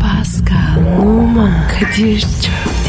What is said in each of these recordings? Pascal, Oman, Kadir çok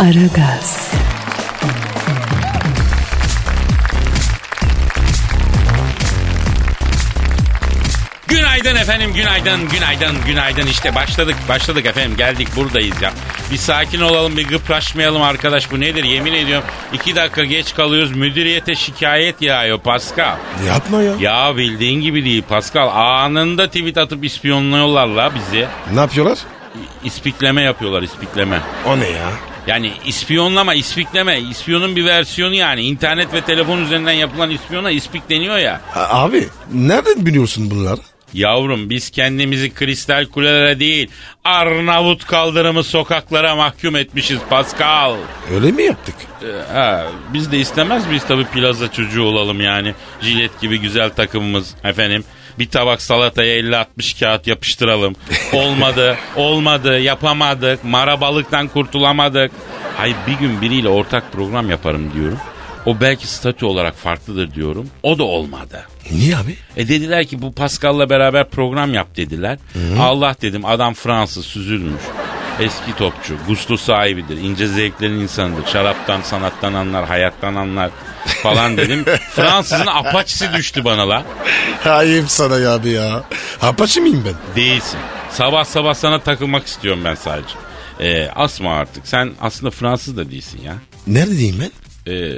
Aragaz, Günaydın efendim, günaydın, günaydın, günaydın. İşte başladık, başladık efendim. Geldik buradayız ya. Bir sakin olalım, bir gıpraşmayalım arkadaş. Bu nedir? Yemin ediyorum iki dakika geç kalıyoruz. Müdüriyete şikayet yağıyor Pascal. Yapma ya. Ya bildiğin gibi değil Pascal. Anında tweet atıp ispiyonluyorlar la bizi. Ne yapıyorlar? İspikleme yapıyorlar, ispikleme. O ne ya? Yani ispiyonlama, ispikleme. İspiyonun bir versiyonu yani. İnternet ve telefon üzerinden yapılan ispiyona ispikleniyor ya. A- abi nereden biliyorsun bunları? Yavrum biz kendimizi kristal kulelere değil Arnavut kaldırımı sokaklara mahkum etmişiz Pascal. Öyle mi yaptık? Ee, ha, biz de istemez miyiz tabi plaza çocuğu olalım yani. Jilet gibi güzel takımımız efendim. Bir tabak salataya 50-60 kağıt yapıştıralım. Olmadı, olmadı, yapamadık, marabalıktan kurtulamadık. Hayır bir gün biriyle ortak program yaparım diyorum. O belki statü olarak farklıdır diyorum. O da olmadı. Niye abi? E dediler ki bu Pascal'la beraber program yap dediler. Allah dedim adam Fransız süzülmüş. Eski topçu, gusto sahibidir, ince zevklerin insanıdır. Şaraptan, sanattan anlar, hayattan anlar falan dedim. Fransızın apaçisi düştü bana la. Hayır sana ya abi ya. Apaçı mıyım ben? Değilsin. Sabah sabah sana takılmak istiyorum ben sadece. E, asma artık. Sen aslında Fransız da değilsin ya. Neredeyim ben? E,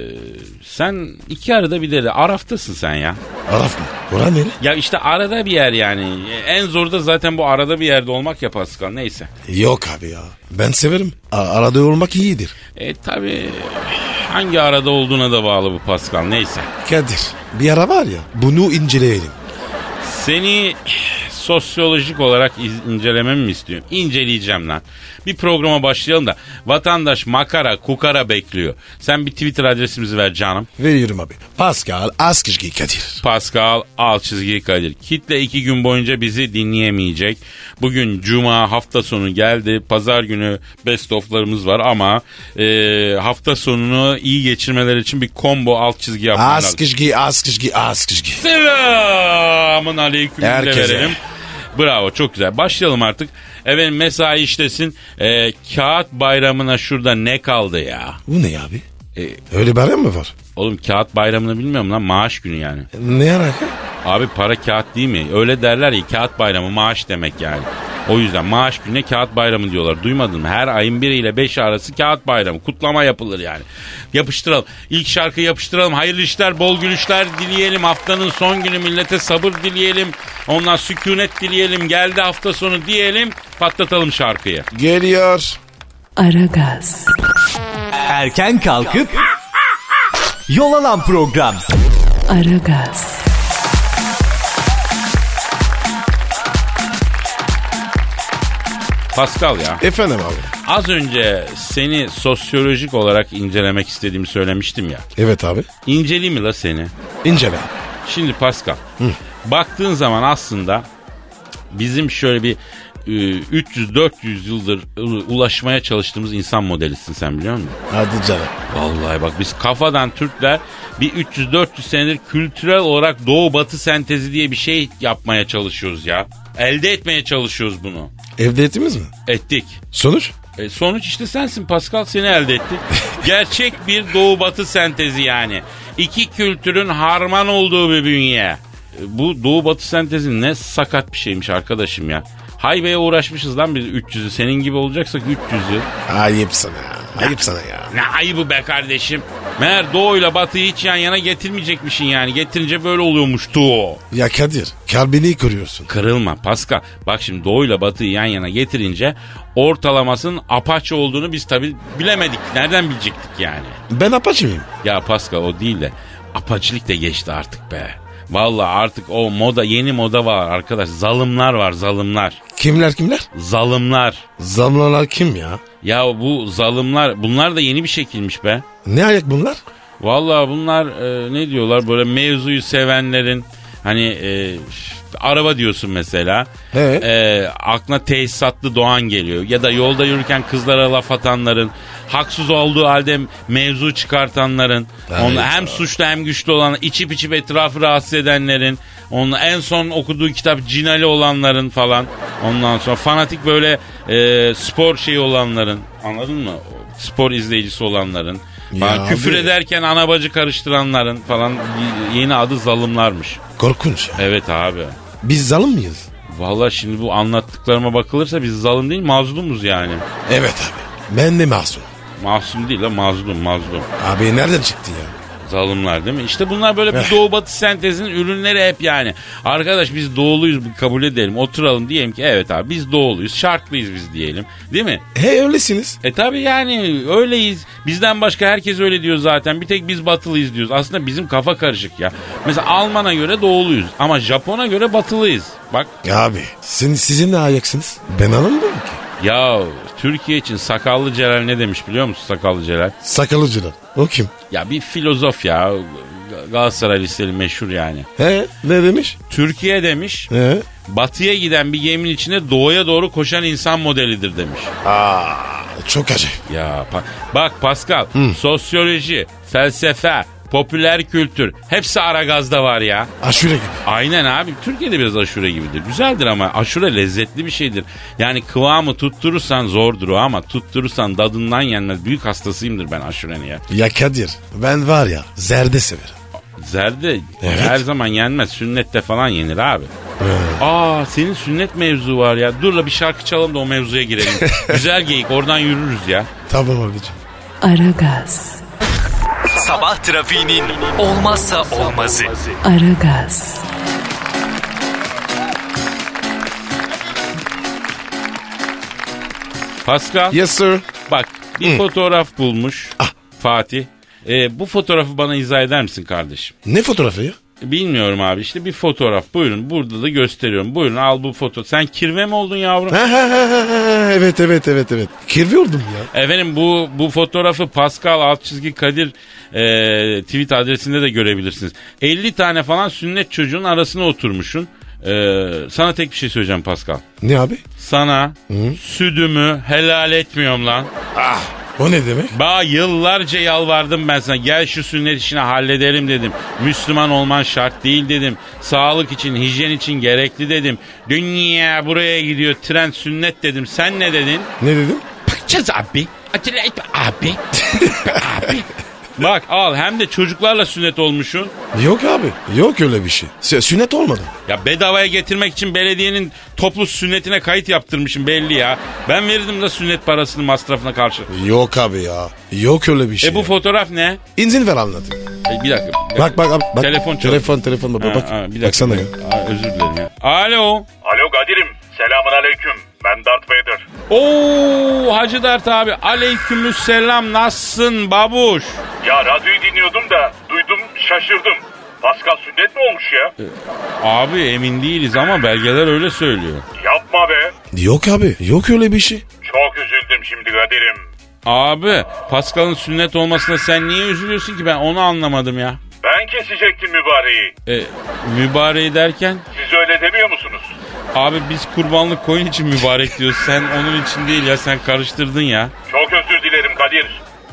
sen iki arada bir de Araf'tasın sen ya. Araf mı? Ora nere? Ya işte arada bir yer yani. En zoru da zaten bu arada bir yerde olmak ya Pascal. Neyse. Yok abi ya. Ben severim. A- arada olmak iyidir. E tabi hangi arada olduğuna da bağlı bu Pascal. Neyse. Kadir bir ara var ya bunu inceleyelim. Seni sosyolojik olarak iz- incelememi mi istiyorsun? İnceleyeceğim lan. Bir programa başlayalım da vatandaş makara kukara bekliyor. Sen bir Twitter adresimizi ver canım. Veriyorum abi. Pascal Askışki Kadir. Pascal al çizgi Kadir. Kitle iki gün boyunca bizi dinleyemeyecek. Bugün cuma hafta sonu geldi. Pazar günü best of'larımız var ama e, hafta sonunu iyi geçirmeler için bir combo alt çizgi yapmalar lazım. Askışki Askışki Askışki. Selamın aleyküm Herkese. de verelim. Bravo çok güzel. Başlayalım artık. Efendim mesai işlesin. E, kağıt bayramına şurada ne kaldı ya? Bu ne abi? E, Öyle bayram mı var? oğlum kağıt bayramını bilmiyorum lan maaş günü yani. Ne alaka? Abi para kağıt değil mi? Öyle derler ya kağıt bayramı maaş demek yani. O yüzden maaş gününe kağıt bayramı diyorlar. Duymadın mı? Her ayın 1 ile 5 arası kağıt bayramı. Kutlama yapılır yani. Yapıştıralım. İlk şarkı yapıştıralım. Hayırlı işler, bol gülüşler dileyelim. Haftanın son günü millete sabır dileyelim. Ondan sükunet dileyelim. Geldi hafta sonu diyelim. Patlatalım şarkıyı. Geliyor. Aragaz, Erken kalkıp yol alan program. Aragaz, Pascal ya. Efendim abi. Az önce seni sosyolojik olarak incelemek istediğimi söylemiştim ya. Evet abi. İnceleyeyim mi la seni? İncele. Şimdi Pascal. Baktığın zaman aslında bizim şöyle bir e, 300-400 yıldır e, ulaşmaya çalıştığımız insan modelisin sen biliyor musun? Hadi canım. Vallahi bak biz kafadan Türkler bir 300-400 senedir kültürel olarak doğu batı sentezi diye bir şey yapmaya çalışıyoruz ya. Elde etmeye çalışıyoruz bunu. Evde ettiniz mi? Ettik. Sonuç? E, sonuç işte sensin Pascal seni elde etti. Gerçek bir doğu batı sentezi yani. İki kültürün harman olduğu bir bünye. E, Bu doğu batı sentezi ne sakat bir şeymiş arkadaşım ya. Haybeye uğraşmışız lan biz 300'ü. Senin gibi olacaksak 300'ü. Ayıp sana. Ayıp sana ya. Ne ayıbı be kardeşim. Meğer doğuyla batıyı hiç yan yana getirmeyecekmişin yani. Getirince böyle oluyormuştu o. Ya Kadir kalbini kırıyorsun. Kırılma Pascal. Bak şimdi doğuyla batıyı yan yana getirince ortalamasının apaçı olduğunu biz tabi bilemedik. Nereden bilecektik yani? Ben apaçı mıyım? Ya Pascal o değil de apaçılık da geçti artık be. Vallahi artık o moda yeni moda var arkadaş. Zalımlar var zalımlar. Kimler kimler? Zalımlar. Zamlalar kim ya? Ya bu zalımlar bunlar da yeni bir şekilmiş be. Ne ayak bunlar? Vallahi bunlar e, ne diyorlar böyle mevzuyu sevenlerin hani e, işte araba diyorsun mesela. Evet. E, aklına tesisatlı Doğan geliyor. Ya da yolda yürürken kızlara laf atanların, haksız olduğu halde mevzu çıkartanların, Evet. onu hem suçlu hem güçlü olan, içip içip etrafı rahatsız edenlerin, onun en son okuduğu kitap Cinali olanların falan. Ondan sonra fanatik böyle e, spor şeyi olanların, anladın mı? Spor izleyicisi olanların. falan. Ya küfür abi. ederken ana bacı karıştıranların falan y- yeni adı zalımlarmış. Korkunç ya. Evet abi. Biz zalim miyiz? Valla şimdi bu anlattıklarıma bakılırsa biz zalim değil mazlumuz yani. Evet abi. Ben de masum. Masum değil la mazlum mazlum. Abi nereden çıktı ya? Zalimler değil mi? İşte bunlar böyle Eh. bir doğu batı sentezinin ürünleri hep yani. Arkadaş biz doğuluyuz bu kabul edelim oturalım diyelim ki evet abi biz doğuluyuz şartlıyız biz diyelim. Değil mi? He öylesiniz. E tabi yani öyleyiz. Bizden başka herkes öyle diyor zaten. Bir tek biz batılıyız diyoruz. Aslında bizim kafa karışık ya. Mesela Alman'a göre doğuluyuz ama Japon'a göre batılıyız. Bak Abi sizin, sizin ne ayaksınız? Ben anlamıyorum ki. ya Türkiye için Sakallı Celal ne demiş biliyor musun Sakallı Celal? Sakalıcılar. O kim? Ya bir filozof ya. Galatasaray Liseli meşhur yani. He ne demiş? Türkiye demiş. He. Batıya giden bir geminin içinde doğuya doğru koşan insan modelidir demiş. Çok acayip. Ya pa- bak Pascal, sosyoloji, felsefe, popüler kültür hepsi Aragaz'da var ya. Aşure gibi. Aynen abi. Türkiye'de biraz aşure gibidir. Güzeldir ama aşure lezzetli bir şeydir. Yani kıvamı tutturursan zordur o ama tutturursan dadından yenmez. Büyük hastasıyımdır ben aşurenin ya. Ya Kadir ben var ya zerde severim. Zerde Evet. her zaman yenmez. Sünnette falan yenir abi. Aa senin sünnet mevzu var ya. Dur la bir şarkı çalalım da o mevzuya girelim. Güzel geyik oradan yürürüz ya. Tamam abicim. Aragaz, Sabah trafiğinin olmazsa olmazı. Aragaz, Pascal Yes sir. bak bir fotoğraf bulmuş Fatih. Ee, bu fotoğrafı bana izah eder misin kardeşim? Ne fotoğrafı ya? Bilmiyorum abi işte bir fotoğraf buyurun burada da gösteriyorum. Buyurun al bu foto. Sen kirve mi oldun yavrum? Ha, ha, ha, ha, ha. evet evet evet evet. Kirviyordum ya. Efendim bu bu fotoğrafı Pascal alt çizgi Kadir e, tweet adresinde de görebilirsiniz. 50 tane falan sünnet çocuğun arasına oturmuşsun. E, sana tek bir şey söyleyeceğim Pascal. Ne abi? Sana südümü helal etmiyorum lan. O ne demek? Ba yıllarca yalvardım ben sana. Gel şu sünnet işini halledelim dedim. Müslüman olman şart değil dedim. Sağlık için, hijyen için gerekli dedim. Dünya buraya gidiyor. Tren sünnet dedim. Sen ne dedin? Ne dedim? Bakacağız abi. Acele etme abi. abi. Bak al hem de çocuklarla sünnet olmuşsun. Yok abi. Yok öyle bir şey. Sü- Sünnet olmadı. Ya bedavaya getirmek için belediyenin toplu sünnetine kayıt yaptırmışım belli ya. Ben verirdim de sünnet parasını masrafına karşı. Yok abi ya. Yok öyle bir şey. E bu ya. fotoğraf ne? İnzin ver anlatayım. E, bir dakika. bir dakika. Bak bak abi. Bak. Telefon çalıyor. Telefon telefon baba. Ha, bak. ha, bir dakika. Baksana ya. Aa, özür dilerim ya. Alo. Alo Kadir'im. Selamun aleyküm. Ben Darth Vader. Oo Hacı Dert abi. Aleykümselam. Nasılsın babuş? Ya radyoyu dinliyordum da duydum şaşırdım. Pascal sünnet mi olmuş ya? Abi emin değiliz ama belgeler öyle söylüyor. Yapma be. Yok abi. Yok öyle bir şey. Çok üzüldüm şimdi Kadir'im. Abi Pascal'ın sünnet olmasına sen niye üzülüyorsun ki ben onu anlamadım ya. Ben kesecektim mübareği. E, mübareği derken Siz öyle demiyor musunuz? abi biz kurbanlık koyun için mübarek diyoruz. Sen onun için değil ya sen karıştırdın ya. Çok özür dilerim Kadir.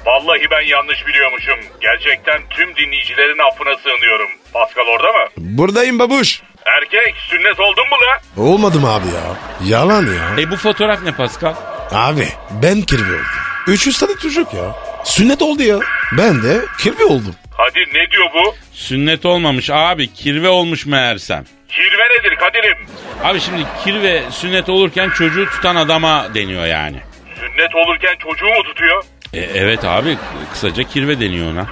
Vallahi ben yanlış biliyormuşum. Gerçekten tüm dinleyicilerin affına sığınıyorum. Pascal orada mı? Buradayım babuş. Erkek sünnet oldun mu la? Olmadım abi ya. Yalan ya. E bu fotoğraf ne Pascal? Abi ben kirvi oldum. 300 tane çocuk ya. Sünnet oldu ya. Ben de kirvi oldum. Kadir ne diyor bu? Sünnet olmamış abi kirve olmuş meğersem. Kirve nedir Kadir'im? Abi şimdi kirve sünnet olurken çocuğu tutan adama deniyor yani. Sünnet olurken çocuğu mu tutuyor? E, evet abi kısaca kirve deniyor ona.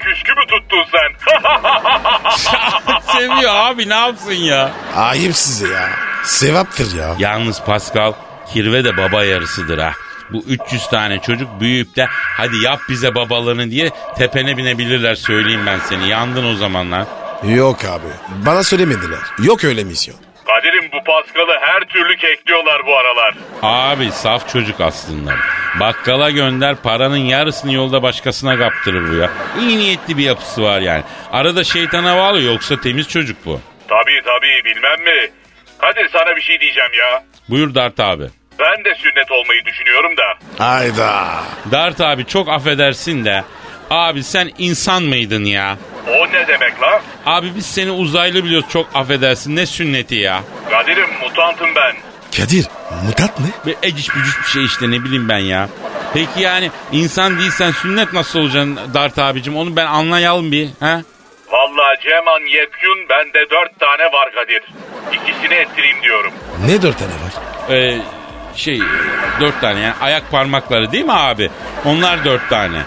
Küskü mü tuttun sen? Seviyor abi ne yapsın ya. Ayıp size ya. Sevaptır ya. Yalnız Pascal kirve de baba yarısıdır ha. Bu 300 tane çocuk büyüyüp de hadi yap bize babalığını diye tepene binebilirler söyleyeyim ben seni. Yandın o zamanlar. Yok abi. Bana söylemediler. Yok öyle misyon. Kadir'im bu Paskal'ı her türlü kekliyorlar bu aralar. Abi saf çocuk aslında. Bakkala gönder paranın yarısını yolda başkasına kaptırır bu ya. İyi niyetli bir yapısı var yani. Arada şeytana bağlı yoksa temiz çocuk bu. Tabii tabii bilmem mi? Kadir sana bir şey diyeceğim ya. Buyur Dart abi. Ben de sünnet olmayı düşünüyorum da. Hayda. Dart abi çok affedersin de. Abi sen insan mıydın ya? O ne demek la? Abi biz seni uzaylı biliyoruz çok affedersin ne sünneti ya. Kadir'im mutantım ben. Kadir mutat ne? Bir eciş bücüş bir şey işte ne bileyim ben ya. Peki yani insan değilsen sünnet nasıl olacaksın Dart abicim onu ben anlayalım bir. He? Vallahi Ceman Yepyun bende dört tane var Kadir. İkisini ettireyim diyorum. Ne dört tane var? Ee, şey dört tane yani ayak parmakları değil mi abi? Onlar dört tane.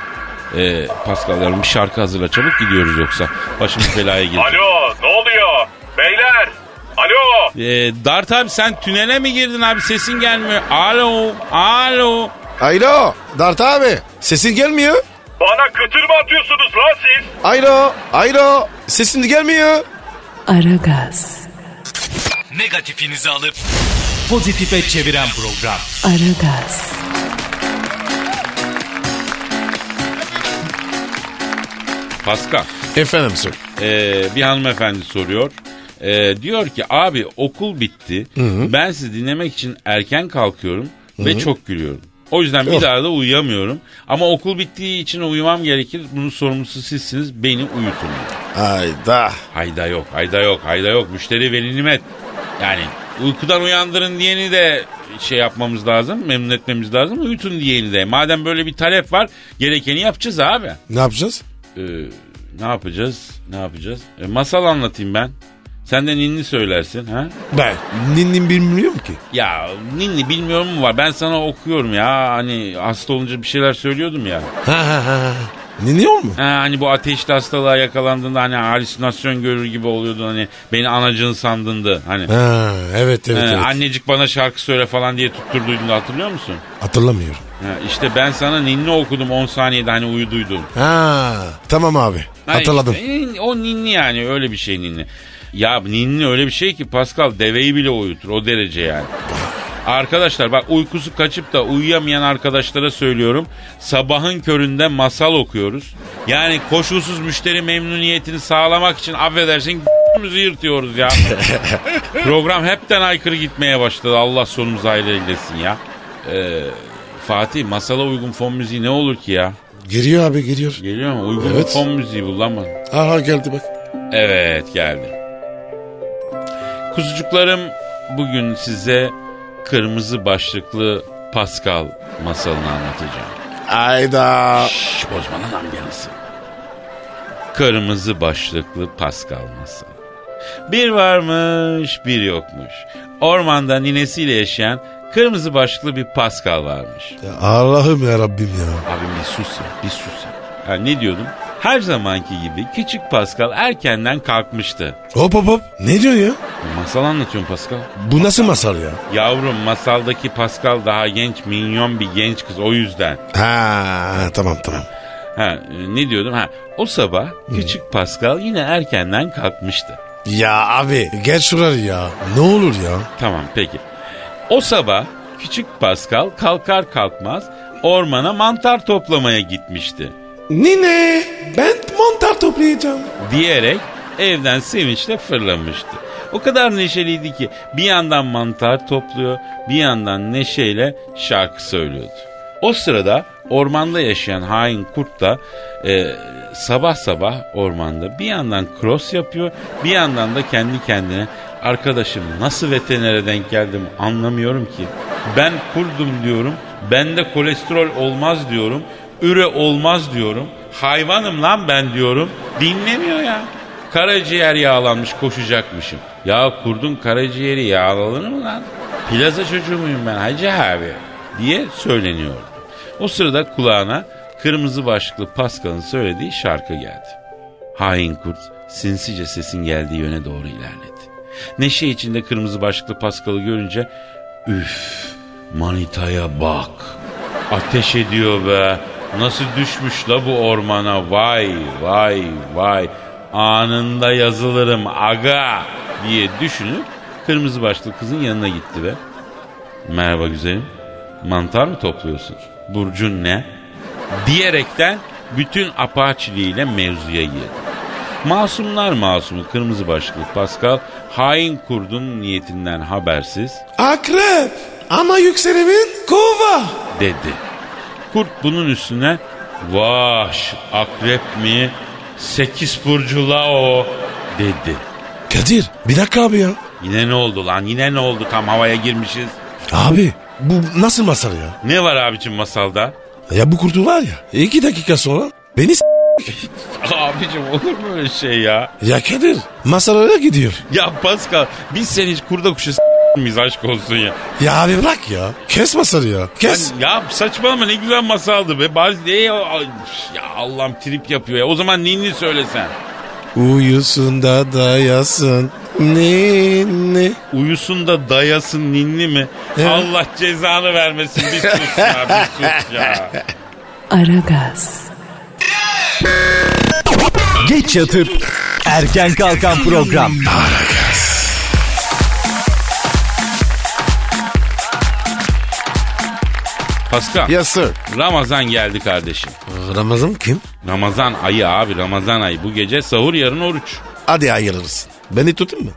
Ee, Pascal yavrum bir şarkı hazırla çabuk gidiyoruz yoksa başımız belaya girecek. Alo ne oluyor? Beyler! Alo! Ee, Dart abi sen tünele mi girdin abi sesin gelmiyor. Alo, alo. Alo. Dart abi. Sesin gelmiyor. Bana kıtır mı atıyorsunuz lan siz? Alo. Alo. Sesin gelmiyor. Aragaz, Negatifinizi alıp pozitife çeviren program. Aragaz, Pascal, Efendim sir. ee, bir hanımefendi soruyor. Ee, diyor ki abi okul bitti. Ben sizi dinlemek için erken kalkıyorum ve çok gülüyorum. O yüzden bir Yok. daha da uyuyamıyorum. Ama okul bittiği için uyumam gerekir. Bunun sorumlusu sizsiniz. Beni uyutun. Hayda. Hayda yok, hayda yok, hayda yok. Müşteri veli nimet. Yani uykudan uyandırın diyeni de şey yapmamız lazım, memnun etmemiz lazım. Uyutun diyeni de. Madem böyle bir talep var, gerekeni yapacağız abi. Ne yapacağız? Ee, ne yapacağız? Ne yapacağız? E, masal anlatayım ben. Sen de ninni söylersin ha? Ben. Ninnin bilmiyorum ki. Ya ninni bilmiyorum mu var? Ben sana okuyorum ya. Hani hasta olunca bir şeyler söylüyordum ya. Ha ha ha. Ninniyor mu? Ha, hani bu ateşli hastalığa yakalandığında hani halüsinasyon görür gibi oluyordu hani beni anacın sandındı hani. Ha, evet evet. Ee, evet. Annecik bana şarkı söyle falan diye tutturduydun hatırlıyor musun? Hatırlamıyorum. Ha, işte ben sana ninni okudum 10 saniyede hani uyuduydun. Ha, tamam abi. Hani Hatırladım. işte, nin- o ninni yani öyle bir şey ninni. Ya ninni öyle bir şey ki Pascal deveyi bile uyutur o derece yani. Arkadaşlar bak uykusu kaçıp da uyuyamayan arkadaşlara söylüyorum. Sabahın köründe masal okuyoruz. Yani koşulsuz müşteri memnuniyetini sağlamak için affedersin müziği yırtıyoruz ya. Program hepten aykırı gitmeye başladı. Allah sonumuzu hayır eylesin ya. Ee, Fatih masala uygun fon müziği ne olur ki ya? Giriyor abi giriyor. Geliyor mu? Uygun bir Evet. fon müziği bul lan bana. Aha geldi bak. Evet geldi. Kuzucuklarım bugün size kırmızı başlıklı Pascal masalını anlatacağım. Ayda. Şşş bozma lan ambiyansı. Kırmızı başlıklı Pascal masalı. Bir varmış bir yokmuş. Ormanda ninesiyle yaşayan kırmızı başlıklı bir Pascal varmış. Ya Allah'ım ya Rabbim ya. Abim bir sus ya, bir sus ya. Ha, ne diyordum? Her zamanki gibi küçük Pascal erkenden kalkmıştı. Hop hop hop. Ne diyorsun ya? Masal anlatıyorum Pascal. Bu nasıl masal ya? Yavrum masaldaki Pascal daha genç minyon bir genç kız o yüzden. Ha, tamam tamam. Ha, e, ne diyordum? Ha, o sabah küçük Pascal yine erkenden kalkmıştı. Ya abi gel şuraya ya. Ne olur ya? Tamam peki. O sabah küçük Pascal kalkar kalkmaz ormana mantar toplamaya gitmişti. Nine ben mantar toplayacağım. diyerek evden sevinçle fırlamıştı. O kadar neşeliydi ki bir yandan mantar topluyor, bir yandan neşeyle şarkı söylüyordu. O sırada ormanda yaşayan hain kurt da e, sabah sabah ormanda bir yandan cross yapıyor, bir yandan da kendi kendine arkadaşım nasıl veterinere denk geldim anlamıyorum ki. Ben kurdum diyorum, bende kolesterol olmaz diyorum, üre olmaz diyorum. Hayvanım lan ben diyorum. Dinlemiyor ya. Karaciğer yağlanmış koşacakmışım. Ya kurdun karaciğeri yağlanır mı lan? Plaza çocuğu muyum ben hacı abi? Diye söyleniyordu. O sırada kulağına kırmızı başlıklı Pascal'ın söylediği şarkı geldi. Hain kurt sinsice sesin geldiği yöne doğru ilerledi. Neşe içinde kırmızı başlıklı Pascal'ı görünce üf manitaya bak ateş ediyor be nasıl düşmüş la bu ormana vay vay vay Anında yazılırım aga diye düşünüp kırmızı başlı kızın yanına gitti ve merhaba güzelim mantar mı topluyorsun? Burcun ne? Diyerekten bütün apaçiliğiyle mevzuya girdi. Masumlar masumu kırmızı başlı Pascal hain kurdun niyetinden habersiz Akrep ama yükselenin kova. dedi. Kurt bunun üstüne vaş akrep mi sekiz burcula o dedi. Kadir bir dakika abi ya. Yine ne oldu lan yine ne oldu tam havaya girmişiz. Abi bu nasıl masal ya? Ne var abicim masalda? Ya bu kurtu var ya iki dakika sonra beni s- Abicim olur mu öyle şey ya? Ya Kadir masalara gidiyor. Ya Pascal biz seni hiç kurda kuşa s- mıyız aşk olsun ya? Ya abi bırak ya. Kes masalı ya. Kes. Lan Hani ya saçmalama ne güzel masaldı be. Bari ne ya, ay, ya Allah'ım trip yapıyor ya. O zaman ninni söylesen. Uyusun da dayasın. Ne ne. Uyusun da dayasın ninni mi? Evet. Allah cezanı vermesin. Bir sus ya bir sus ya. Aragaz, Geç yatıp erken kalkan program. Pascal Yes sir. Ramazan geldi kardeşim. Ramazan kim? Ramazan ayı abi Ramazan ayı. Bu gece sahur yarın oruç. Hadi ayırırız. Beni tutun mu?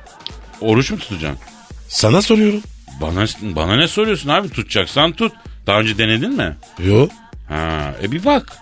Oruç mu tutacaksın? Sana soruyorum. Bana, bana ne soruyorsun abi tutacaksan tut. Daha önce denedin mi? Yo. Ha, e bir bak.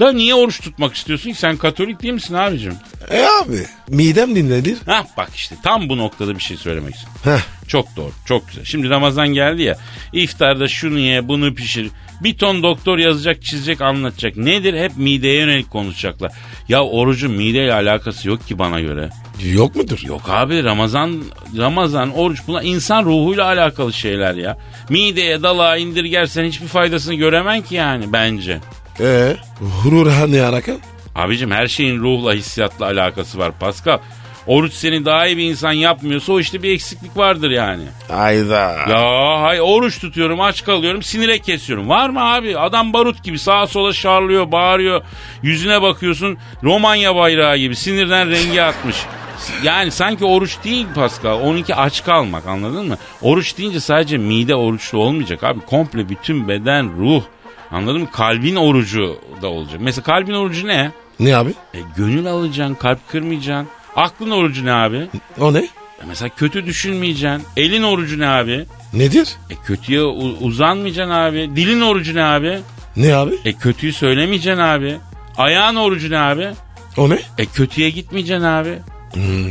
Da niye oruç tutmak istiyorsun ki? Sen Katolik değil misin abicim? E abi. Midem dinlenir. Hah bak işte tam bu noktada bir şey söylemek istiyorum. Heh. Çok doğru, çok güzel. Şimdi Ramazan geldi ya. İftarda şunu ye, bunu pişir. Bir ton doktor yazacak, çizecek, anlatacak. Nedir? Hep mideye yönelik konuşacaklar. Ya orucun mideyle alakası yok ki bana göre. Yok mudur? Yok abi Ramazan Ramazan oruç bunlar insan ruhuyla alakalı şeyler ya. Mideye dalağa indirgersen hiçbir faydasını göremen ki yani bence. Ee, hurur ne arakan? Abicim her şeyin ruhla hissiyatla alakası var Pascal. Oruç seni daha iyi bir insan yapmıyorsa o işte bir eksiklik vardır yani. Hayda. Ya hay oruç tutuyorum aç kalıyorum sinire kesiyorum. Var mı abi adam barut gibi sağa sola şarlıyor bağırıyor. Yüzüne bakıyorsun Romanya bayrağı gibi sinirden rengi atmış. Yani sanki oruç değil Pascal. Onunki aç kalmak anladın mı? Oruç deyince sadece mide oruçlu olmayacak abi. Komple bütün beden ruh. Anladın mı? Kalbin orucu da olacak. Mesela kalbin orucu ne? Ne abi? E, gönül alacaksın, kalp kırmayacaksın. Aklın orucu ne abi? E, O ne? mesela kötü düşünmeyeceksin. Elin orucu ne abi? Nedir? E kötüye u- uzanmayacaksın abi. Dilin orucu ne abi? Ne abi? E kötüyü söylemeyeceksin abi. Ayağın orucu ne abi? O ne? E kötüye gitmeyeceksin abi.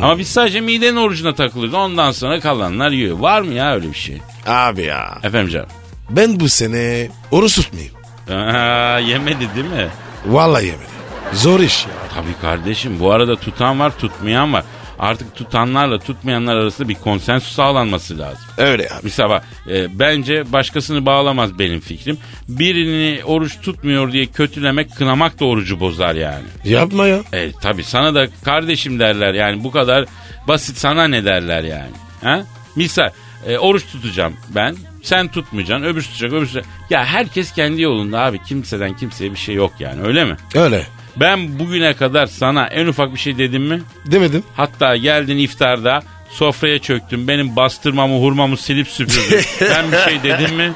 Ama biz sadece midenin orucuna takılıyoruz. Ondan sonra kalanlar yiyor. Var mı ya öyle bir şey? Abi ya. Efendim canım. Ben bu sene oruç tutmayayım. Aa, yemedi değil mi? Vallahi yemedim. Zor iş ya. Tabii kardeşim bu arada tutan var tutmayan var. Artık tutanlarla tutmayanlar arasında bir konsensus sağlanması lazım. Öyle abi. Mesela bak, e, bence başkasını bağlamaz benim fikrim. Birini oruç tutmuyor diye kötülemek, kınamak da orucu bozar yani. Yapma ya. E tabi sana da kardeşim derler yani bu kadar basit sana ne derler yani. Ha? Misal e, oruç tutacağım ben. Sen tutmayacaksın öbür tutacak öbür tutacak. Ya herkes kendi yolunda abi kimseden kimseye bir şey yok yani öyle mi? Öyle. Ben bugüne kadar sana en ufak bir şey dedim mi? Demedim. Hatta geldin iftarda sofraya çöktün. Benim bastırmamı hurmamı silip süpürdün. ben bir şey dedim mi?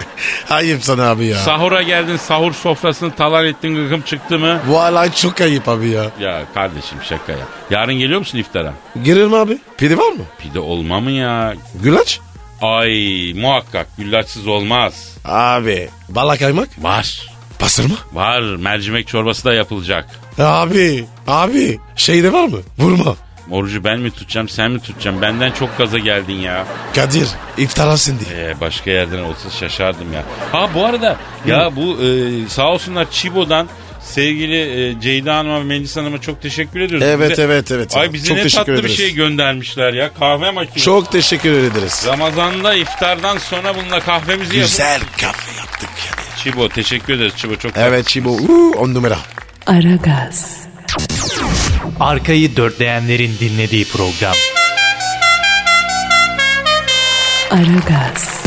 Ayıp sana abi ya. Sahura geldin sahur sofrasını talan ettin gıkım çıktı mı? Vallahi çok ayıp abi ya. Ya kardeşim şaka ya. Yarın geliyor musun iftara? Girir mi abi? Pide var mı? Pide olma mı ya? Gülaç? Ay muhakkak güllaçsız olmaz. Abi. Bala kaymak? Var. Pastırma? Var mercimek çorbası da yapılacak. E Abi. Abi. Şeyde var mı? Vurma. Orucu ben mi tutacağım sen mi tutacaksın? Benden çok gaza geldin ya. Kadir. iftarasın diye. Ee, başka yerden olsa şaşardım ya. Ha bu arada ya bu e, sağ olsunlar Çibo'dan sevgili e, Ceyda Hanım'a ve Melis Hanım'a çok teşekkür ediyoruz. Evet, Bize- evet, evet. Ay bize Çok ne teşekkür tatlı bir ederiz. şey göndermişler ya kahve makinesi. Çok teşekkür ederiz. Ramazan'da iftardan sonra bununla kahvemizi yapalım. Güzel kafe yaptık yani. Çibo teşekkür ederiz Çibo çok Evet Çibo. Uuu, on numara. Aragaz, Arkayı dörtleyenlerin dinlediği program. Aragaz,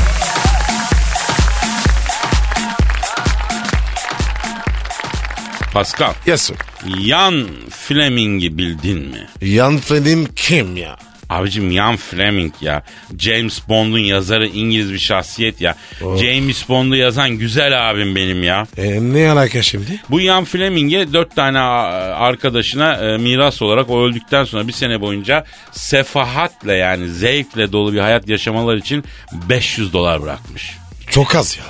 Pascal Yes sir. Yan Fleming'i bildin mi? Yan Fred'im kim ya? Abicim Ian Fleming ya. James Bond'un yazarı İngiliz bir şahsiyet ya. Oh. James Bond'u yazan güzel abim benim ya. E, ne alaka şimdi? Bu Ian Fleming'e dört tane a- arkadaşına e, miras olarak o öldükten sonra bir sene boyunca sefahatle yani zevkle dolu bir hayat yaşamalar için 500 dolar bırakmış. Çok az ya.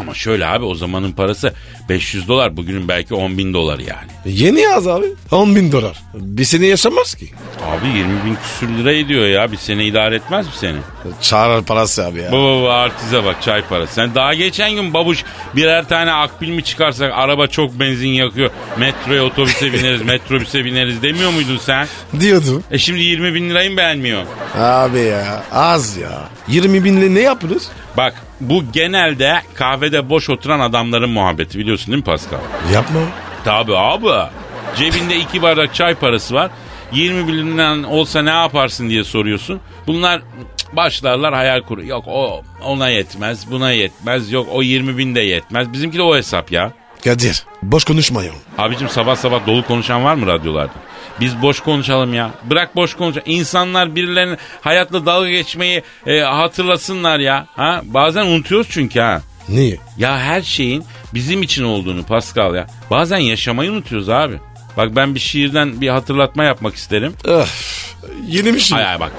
Ama şöyle abi o zamanın parası 500 dolar bugünün belki 10 bin doları yani. Yeni az abi. 10 bin dolar. Bir sene yaşamaz ki. Abi 20 bin küsür lira ediyor ya bir sene idare etmez mi seni? Çağrı parası abi ya. Baba baba artize bak çay parası. Sen daha geçen gün babuş birer tane akbil mi çıkarsak araba çok benzin yakıyor. Metroya otobüse bineriz metrobüse bineriz demiyor muydun sen? Diyordum. E şimdi 20 bin lirayı mı beğenmiyor? Abi ya az ya. 20 binle ne yapılır? Bak bu genelde kahvede boş oturan adamların muhabbeti biliyorsun değil mi Pascal? Yapma. Tabi abi. Cebinde iki bardak çay parası var. 20 bininden olsa ne yaparsın diye soruyorsun. Bunlar cık, başlarlar hayal kuru. Yok o ona yetmez, buna yetmez. Yok o 20 bin de yetmez. Bizimki de o hesap ya. Kadir boş konuşma ya. Abicim sabah sabah dolu konuşan var mı radyolarda? Biz boş konuşalım ya. Bırak boş konuş. İnsanlar birilerinin hayatla dalga geçmeyi e, hatırlasınlar ya. Ha? Bazen unutuyoruz çünkü ha. Niye? Ya her şeyin bizim için olduğunu Pascal ya. Bazen yaşamayı unutuyoruz abi. Bak ben bir şiirden bir hatırlatma yapmak isterim. Öf, yeni bir şey. Ay ay bak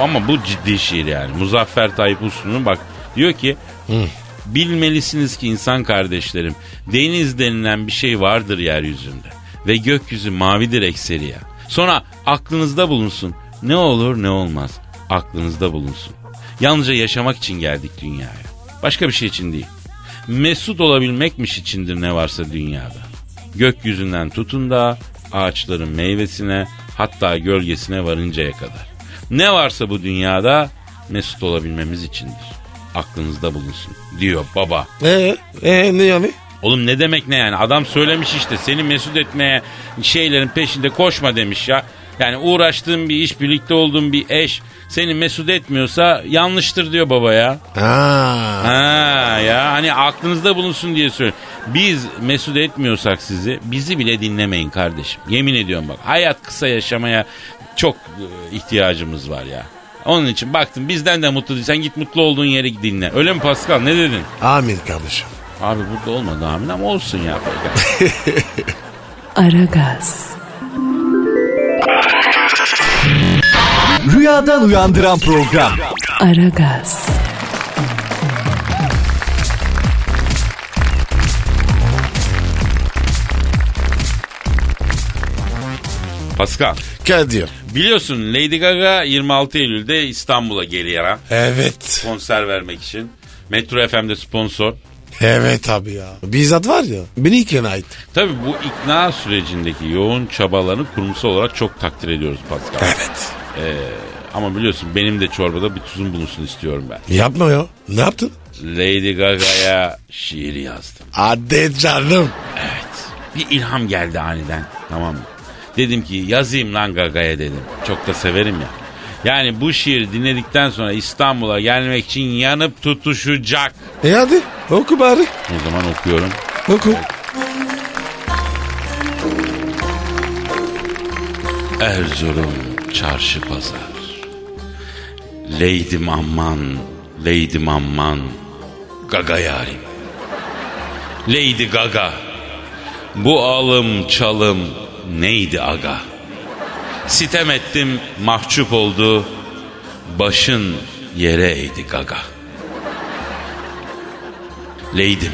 ama bu ciddi şiir yani. Muzaffer Tayyip Uslu'nun bak diyor ki bilmelisiniz ki insan kardeşlerim deniz denilen bir şey vardır yeryüzünde ve gökyüzü mavidir ekseriya. Sonra aklınızda bulunsun ne olur ne olmaz aklınızda bulunsun. Yalnızca yaşamak için geldik dünyaya başka bir şey için değil. Mesut olabilmekmiş içindir ne varsa dünyada. Gökyüzünden tutun da ağaçların meyvesine hatta gölgesine varıncaya kadar. Ne varsa bu dünyada mesut olabilmemiz içindir. Aklınızda bulunsun diyor baba. Ee, ee, ne yani? Oğlum ne demek ne yani adam söylemiş işte seni mesut etmeye şeylerin peşinde koşma demiş ya. Yani uğraştığın bir iş birlikte olduğun bir eş seni mesut etmiyorsa yanlıştır diyor baba ya. Ha. Ha ya hani aklınızda bulunsun diye söylüyorum. Biz mesut etmiyorsak sizi bizi bile dinlemeyin kardeşim. Yemin ediyorum bak hayat kısa yaşamaya çok e, ihtiyacımız var ya. Onun için baktım bizden de mutlu değilsen git mutlu olduğun yeri dinle. Öyle mi Pascal ne dedin? Amin kardeşim. Abi mutlu olmadı amin ama olsun ya. Aragaz, Rüyadan uyandıran program. Aragaz, Pascal Kadir. biliyorsun Lady Gaga 26 Eylül'de İstanbul'a geliyor ha. Evet. Konser vermek için. Metro FM'de sponsor. Evet abi ya. Bizzat var ya. Beni ikna etti. Tabii bu ikna sürecindeki yoğun çabalarını kurumsal olarak çok takdir ediyoruz Pascal. Evet. Ama biliyorsun benim de çorbada bir tuzum bulunsun istiyorum ben. Yapma ya. Ne yaptın? Lady Gaga'ya şiir yazdım. Hadi canım. Evet. Bir ilham geldi aniden. Tamam mı? Dedim ki yazayım lan Gaga'ya dedim. Çok da severim ya. Yani bu şiiri dinledikten sonra İstanbul'a gelmek için yanıp tutuşacak. E hadi oku bari. O zaman okuyorum. Oku. Erzurum çarşı pazar. Leydim aman, leydim aman, gaga yarim. Lady gaga, bu alım çalım neydi aga? Sitem ettim, mahcup oldu, başın yere eğdi gaga. Leydim,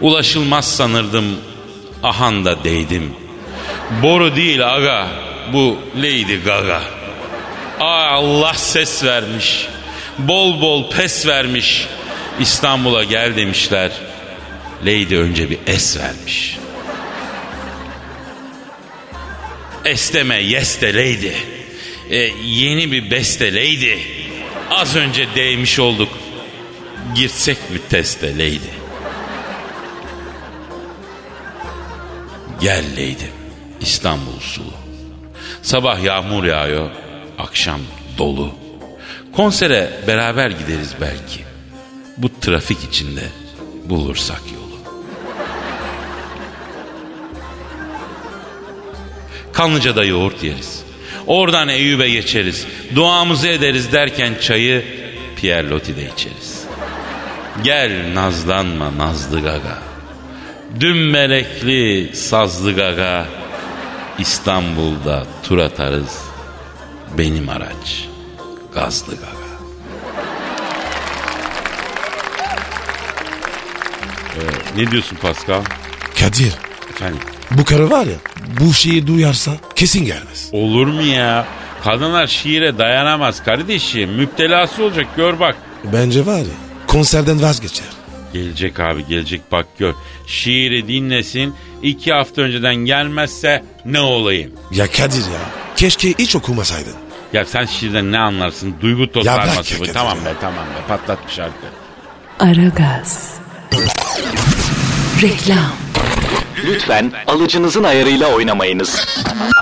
ulaşılmaz sanırdım, ahan da değdim.'' Boru değil aga bu Lady Gaga. Ay Allah ses vermiş. Bol bol pes vermiş. İstanbul'a gel demişler. Lady önce bir es vermiş. Es deme yes de Lady. E, yeni bir beste Lady. Az önce değmiş olduk. Girsek mi teste Lady? Gel Leydim İstanbul sulu. Sabah yağmur yağıyor, akşam dolu. Konsere beraber gideriz belki. Bu trafik içinde bulursak yolu. Kanlıca'da yoğurt yeriz. Oradan Eyüp'e geçeriz. Duamızı ederiz derken çayı Pierre Loti'de içeriz. Gel nazlanma nazlı gaga. Dün melekli sazlı gaga. İstanbul'da tur atarız. Benim araç gazlı gaga. Ee, ne diyorsun Pascal? Kadir Efendim? bu karı var ya bu şeyi duyarsa kesin gelmez. Olur mu ya? Kadınlar şiire dayanamaz kardeşim. Müptelası olacak gör bak. Bence var ya konserden vazgeçer. Gelecek abi gelecek bak gör. Şiiri dinlesin. iki hafta önceden gelmezse ne olayım? Ya Kadir ya keşke hiç okumasaydın. Ya sen şiirden ne anlarsın? Duygu Ya bırak tosarması bu. hakikaten Tamam ya. be tamam be patlat bir şarkı. Aragaz. Reklam. Lütfen alıcınızın ayarıyla oynamayınız.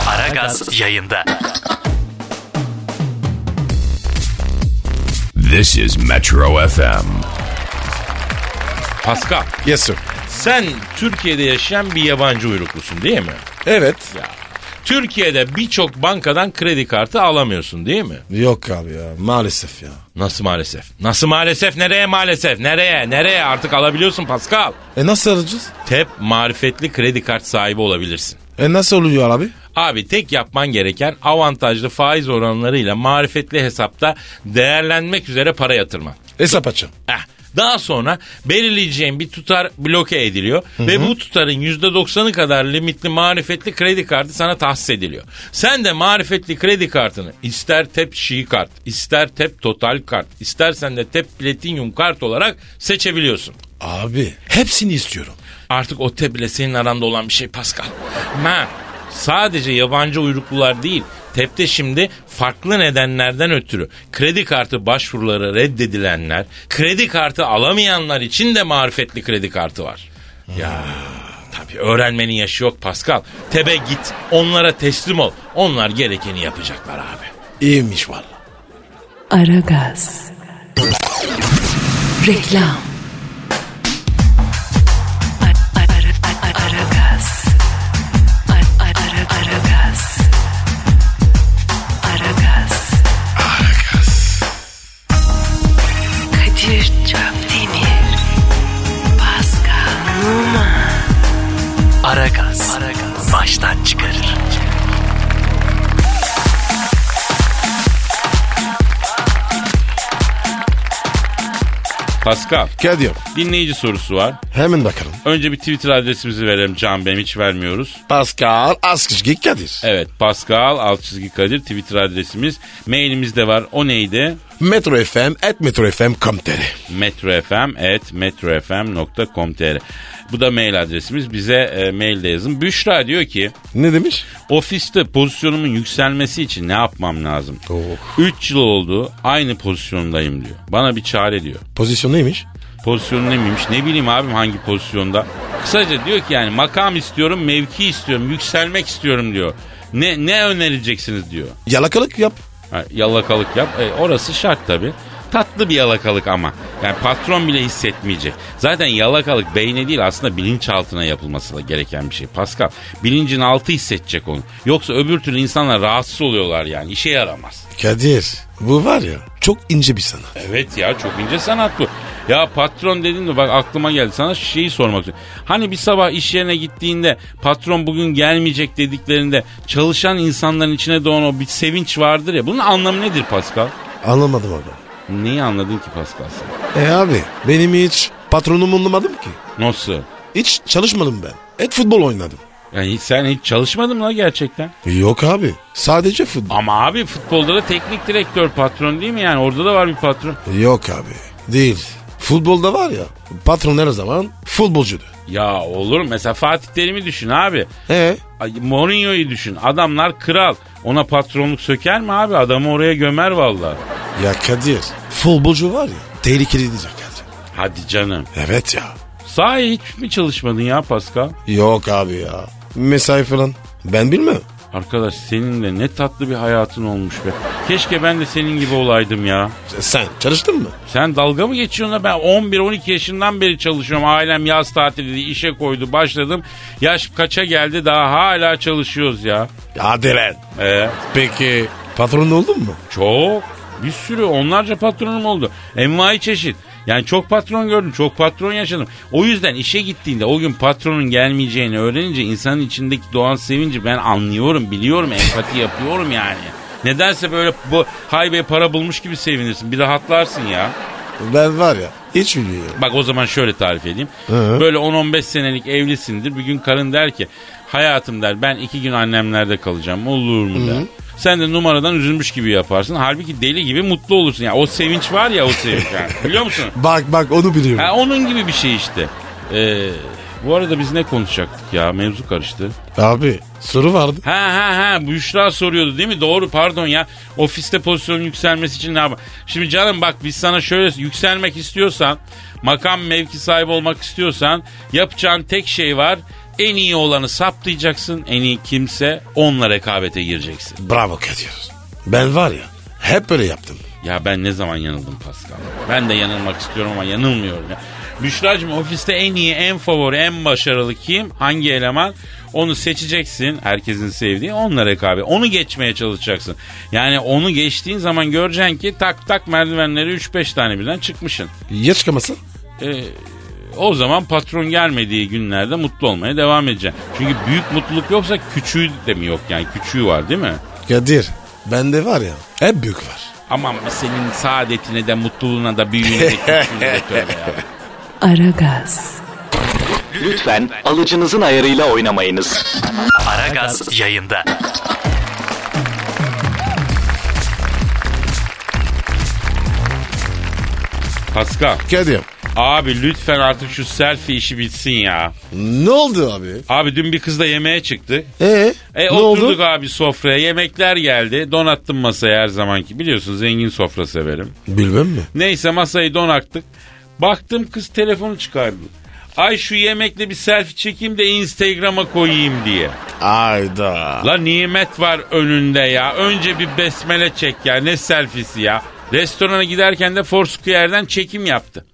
Aragaz yayında. This is Metro FM. Pascal Yes sir. sen Türkiye'de yaşayan bir yabancı uyruklusun değil mi? Evet. Türkiye'de birçok bankadan kredi kartı alamıyorsun değil mi? Yok abi ya maalesef ya. Nasıl maalesef? Nasıl maalesef? Nereye maalesef? Nereye? Nereye? Artık alabiliyorsun Pascal. E nasıl arayacağız? Tep marifetli kredi kart sahibi olabilirsin. E nasıl oluyor abi? Abi tek yapman gereken avantajlı faiz oranlarıyla marifetli hesapta değerlenmek üzere para yatırman. Hesap açın. Eh, Daha sonra belirleyeceğin bir tutar bloke ediliyor ve bu tutarın %90'ı kadar limitli marifetli kredi kartı sana tahsis ediliyor. Sen de marifetli kredi kartını ister TEP Şii kart, ister TEP Total kart, istersen de TEP Platinum kart olarak seçebiliyorsun. Abi hepsini istiyorum. Artık o teple senin aranda olan bir şey Pascal. Ma sadece yabancı uyruklular değil. Tepte şimdi farklı nedenlerden ötürü kredi kartı başvuruları reddedilenler, kredi kartı alamayanlar için de marifetli kredi kartı var. Ya tabii öğrenmenin yaşı yok Pascal. Tebe git, onlara teslim ol. Onlar gerekeni yapacaklar abi. İyiymiş valla. Aragaz. Reklam. Ara- ara- ara- Aragaz. Ara- ara- Aragaz. Aragaz. Kadir Çöpdemir. Pascal Numa. Aragaz. Baştan çıkarır. Pascal, Kadir dinleyici sorusu var. hemen bakalım. Önce bir Twitter adresimizi verelim Can Benim hiç vermiyoruz. Pascal Askışgi Kadir. Evet Pascal alt çizgi Kadir Twitter adresimiz. Mailimiz de var. O neydi? Metro FM et Metro FM Komteri. metrofm.com.tr Bu da mail adresimiz. Bize e, mail de yazın. Büşra diyor ki Ne demiş? ofiste pozisyonumun yükselmesi için ne yapmam lazım? 3 yıl oldu aynı pozisyondayım diyor. Bana bir çare diyor. Pozisyon neymiş? Pozisyonu ne miymiş? Ne bileyim abim hangi pozisyonda? Kısaca diyor ki yani makam istiyorum, mevki istiyorum, yükselmek istiyorum diyor. Ne, ne önereceksiniz diyor. Yalakalık yap. Ha, yalakalık yap. E, orası şart tabi. Tatlı bir yalakalık ama. Yani patron bile hissetmeyecek. Zaten yalakalık beyne değil aslında bilinçaltına yapılması da gereken bir şey. Pascal bilincin altı hissedecek onu. Yoksa öbür türlü insanlar rahatsız oluyorlar yani. İşe yaramaz. Kadir bu var ya çok ince bir sanat. Evet ya çok ince sanat bu. Ya patron dedin de bak aklıma geldi sana şeyi sormak istiyorum. Hani bir sabah iş yerine gittiğinde patron bugün gelmeyecek dediklerinde çalışan insanların içine doğan o bir sevinç vardır ya. Bunun anlamı nedir Pascal? Anlamadım abi. Neyi anladın ki Pascal sen? E abi benim hiç patronumu anlamadım ki. Nasıl? Hiç çalışmadım ben. Et futbol oynadım. Yani hiç- sen hiç çalışmadın mı la gerçekten? Yok abi sadece futbol. Ama abi futbolda da teknik direktör patron değil mi yani? Orada da var bir patron. Yok abi değil. Futbolda var ya patron her zaman futbolcudur. Ya olur mu? mesela Fatih Terim'i düşün abi. E Ay, Mourinho'yu düşün. Adamlar kral. Ona patronluk söker mi abi? Adamı oraya gömer vallahi. ya Kadir futbolcu var ya tehlikeli diyecek Kadir. Hadi canım. Evet ya. Sahi hiç mi çalışmadın ya Pascal? Yok abi ya. Mesai falan. Ben bilmem. Aa, Arkadaş seninle ne tatlı bir hayatın olmuş be. Keşke ben de senin gibi olaydım ya. Sen çalıştın mı? Sen dalga mı geçiyorsun da ben 11-12 yaşından beri çalışıyorum. Ailem yaz tatili diye işe koydu başladım. Yaş kaça geldi daha hala çalışıyoruz ya. Hadi lan. Ee, Peki patronun oldun mu? çok bir sürü onlarca patronum oldu. Envai çeşit. Yani çok patron gördüm, çok patron yaşadım. O yüzden işe gittiğinde o gün patronun gelmeyeceğini öğrenince insanın içindeki doğan sevinci ben anlıyorum, biliyorum, empati yapıyorum yani. Nedense böyle bu haybeye para bulmuş gibi sevinirsin. Bir rahatlarsın ya. Ben var ya hiç bilmiyorum. Bak o zaman şöyle tarif edeyim. Hı. Böyle 10-15 senelik evlisindir. Bir gün karın der ki hayatım der ben iki gün annemlerde kalacağım olur mu der. Sen de numaradan üzülmüş gibi yaparsın. Halbuki deli gibi mutlu olursun. Yani o sevinç var ya o sevinç yani. Biliyor musun? Bak bak onu biliyorum. Ha, onun gibi bir şey işte. Ee, bu arada biz ne konuşacaktık ya? Mevzu karıştı. Abi soru vardı. Ha ha ha Büşra soruyordu değil mi? Doğru pardon ya. Ofiste pozisyonun yükselmesi için ne yapar? Şimdi canım bak biz sana şöyle yükselmek istiyorsan, makam mevki sahibi olmak istiyorsan yapacağın tek şey var. En iyi olanı saptayacaksın. En iyi kimse onunla rekabete gireceksin. Bravo Kadir. Ben var ya hep böyle yaptım. Ya ben ne zaman yanıldım Pascal? Ben de yanılmak istiyorum ama yanılmıyorum ya. Büşra'cığım ofiste en iyi, en favori, en başarılı kim? Hangi eleman? Onu seçeceksin. Herkesin sevdiği onunla rekabet. Onu geçmeye çalışacaksın. Yani onu geçtiğin zaman göreceksin ki tak tak merdivenleri 3-5 tane birden çıkmışsın. Ya çıkamasın? O zaman patron gelmediği günlerde mutlu olmaya devam edeceksin. Çünkü büyük mutluluk yoksa küçüğü de mi yok yani? Küçüğü var değil mi? Kadir bende var ya hep büyük var. Aman senin saadetine de mutluluğuna da büyüğüne de küçüğüne de tövbe ya. Aragaz, Lütfen alıcınızın ayarıyla oynamayınız. Aragaz yayında. Pascal. Kadir Abi lütfen artık şu selfie işi bitsin ya. ne oldu abi? Abi dün bir kızla yemeğe çıktı. Ee, E ne oturduk oldu? abi sofraya yemekler geldi. Donattım masayı her zamanki. Biliyorsun zengin sofra severim. Bilmem mi? Neyse masayı donattık. Baktım kız telefonu çıkardı. Ay şu yemekle bir selfie çekeyim de Instagram'a koyayım diye. Ayda. La nimet var önünde ya. Önce bir besmele çek ya. Ne selfisi ya. Restorana giderken de Foursquare'den çekim yaptı.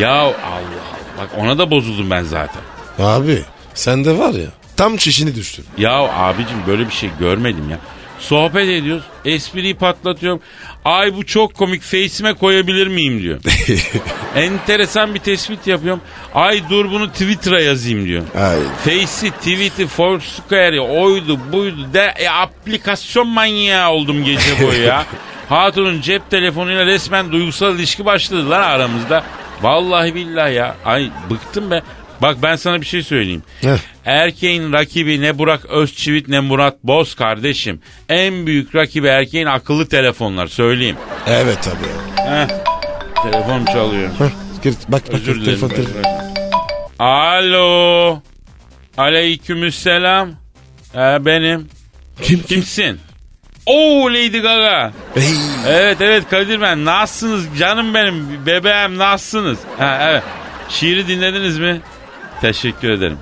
Ya Allah Allah. Bak ona da bozuldum ben zaten. Abi sende var ya tam çişini düştün. Ya abicim böyle bir şey görmedim ya. Sohbet ediyoruz. Espriyi patlatıyorum. Ay bu çok komik face'ime koyabilir miyim diyor. Enteresan bir tespit yapıyorum. Ay dur bunu Twitter'a yazayım diyor. Ayda. Face'i, tweet'i, Foursquare'i oydu buydu de e, aplikasyon manyağı oldum gece boyu ya. Hatun'un cep telefonuyla resmen duygusal ilişki başladı lan aramızda. Vallahi billahi ya. Ay bıktım be. Bak ben sana bir şey söyleyeyim. Heh. Erkeğin rakibi ne Burak Özçivit ne Murat Boz kardeşim. En büyük rakibi erkeğin akıllı telefonlar söyleyeyim. Evet abi. Heh. Telefon çalıyor. Heh, gir, bak bak Özür dilerim. telefon ben- telefon. Alo. Aleykümselam. Ee, benim. Kim kim? Kimsin? Oo Lady Gaga. Hey. Evet evet Kadir ben. Nasılsınız canım benim? Bebeğim nasılsınız? Ha, evet. Şiiri dinlediniz mi? Teşekkür ederim.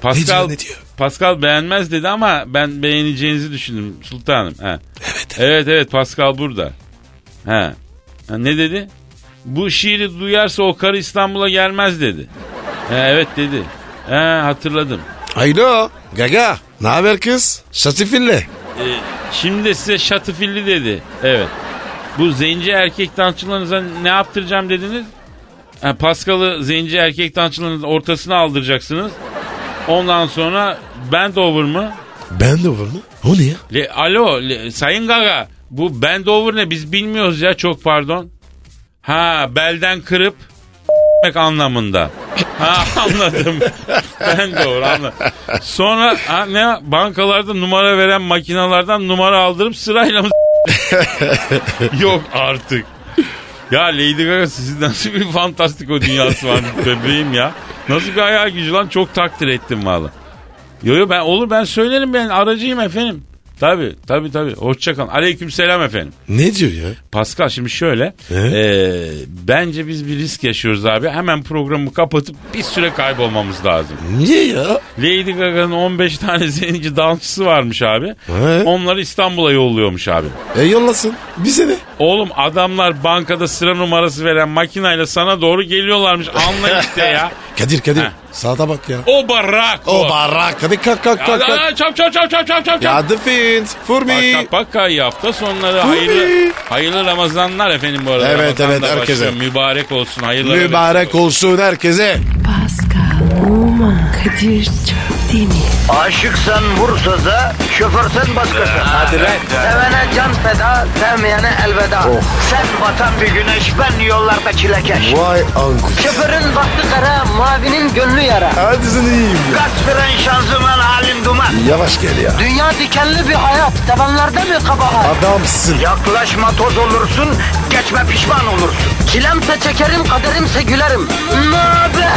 Pascal, diyor, ne diyor? Pascal beğenmez dedi ama ben beğeneceğinizi düşündüm sultanım. Ha. Evet. Evet evet Pascal burada. Ha. Ha, ne dedi? Bu şiiri duyarsa o karı İstanbul'a gelmez dedi. Ha, evet dedi. Ha, hatırladım. Alo. Gaga. Ne haber kız? Şatifille. Ee, şimdi de size şatıfilli dedi. Evet. Bu zenci erkek dansçılarınıza ne yaptıracağım dediniz? Ha, Paskal'ı zenci erkek dansçılarınızın ortasına aldıracaksınız. Ondan sonra Bendover mı? Ben de var mı? O ne ya? Le, alo le- Sayın Gaga bu Bendover ne biz bilmiyoruz ya çok pardon. Ha belden kırıp anlamında. Ha anladım. Bendover anladım. Sonra ha, ne bankalarda numara veren makinalardan numara aldırıp sırayla mı Yok artık. Ya Lady Gaga sizin nasıl bir fantastik o dünyası var bebeğim ya. Nasıl bir hayal gücü lan çok takdir ettim valla. Yo yo ben olur ben söylerim ben aracıyım efendim. Tabii tabii tabii. Hoşçakalın. Aleyküm selam efendim. Ne diyor ya? Pascal şimdi şöyle. Ee? eee, bence biz bir risk yaşıyoruz abi. Hemen programı kapatıp bir süre kaybolmamız lazım. Niye ya? Lady Gaga'nın 15 tane zenci dansçısı varmış abi. He. Onları İstanbul'a yolluyormuş abi. E yollasın. Bize ne? Oğlum adamlar bankada sıra numarası veren makinayla sana doğru geliyorlarmış. Anla işte ya. Kadir Kadir. Heh. Saate bak ya. O barak O barrak. Hadi kalk kalk kalk. kalk. Çap çap çap çap çap çap. Ya the fiend. For me. Baka baka iyi hafta sonları Tabii. hayırlı, hayırlı Ramazanlar efendim bu arada. Evet, Ramazan evet, da herkese. başlıyor. Mübarek olsun hayırlı. Mübarek olsun herkese. Pascal, Oman, Kadir çok değil mi? Aşıksan vursa da, şoförsen başkasın. Hadi Sevene can feda, sevmeyene elveda. Sen batan bir güneş, ben yollarda çilekeş. Vay anku. Şoförün baktı kara, mavinin gönlü yara. Hadi sen iyiyim ya. Kasperen şanzıman halin duman. Yavaş gel ya. Dünya dikenli bir hayat, sevenlerde mi kabahar? Adamsın. Yaklaşma toz olursun, geçme pişman olursun. Çilemse çekerim, kaderimse gülerim. Möber!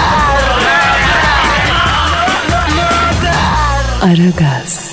Aragaz.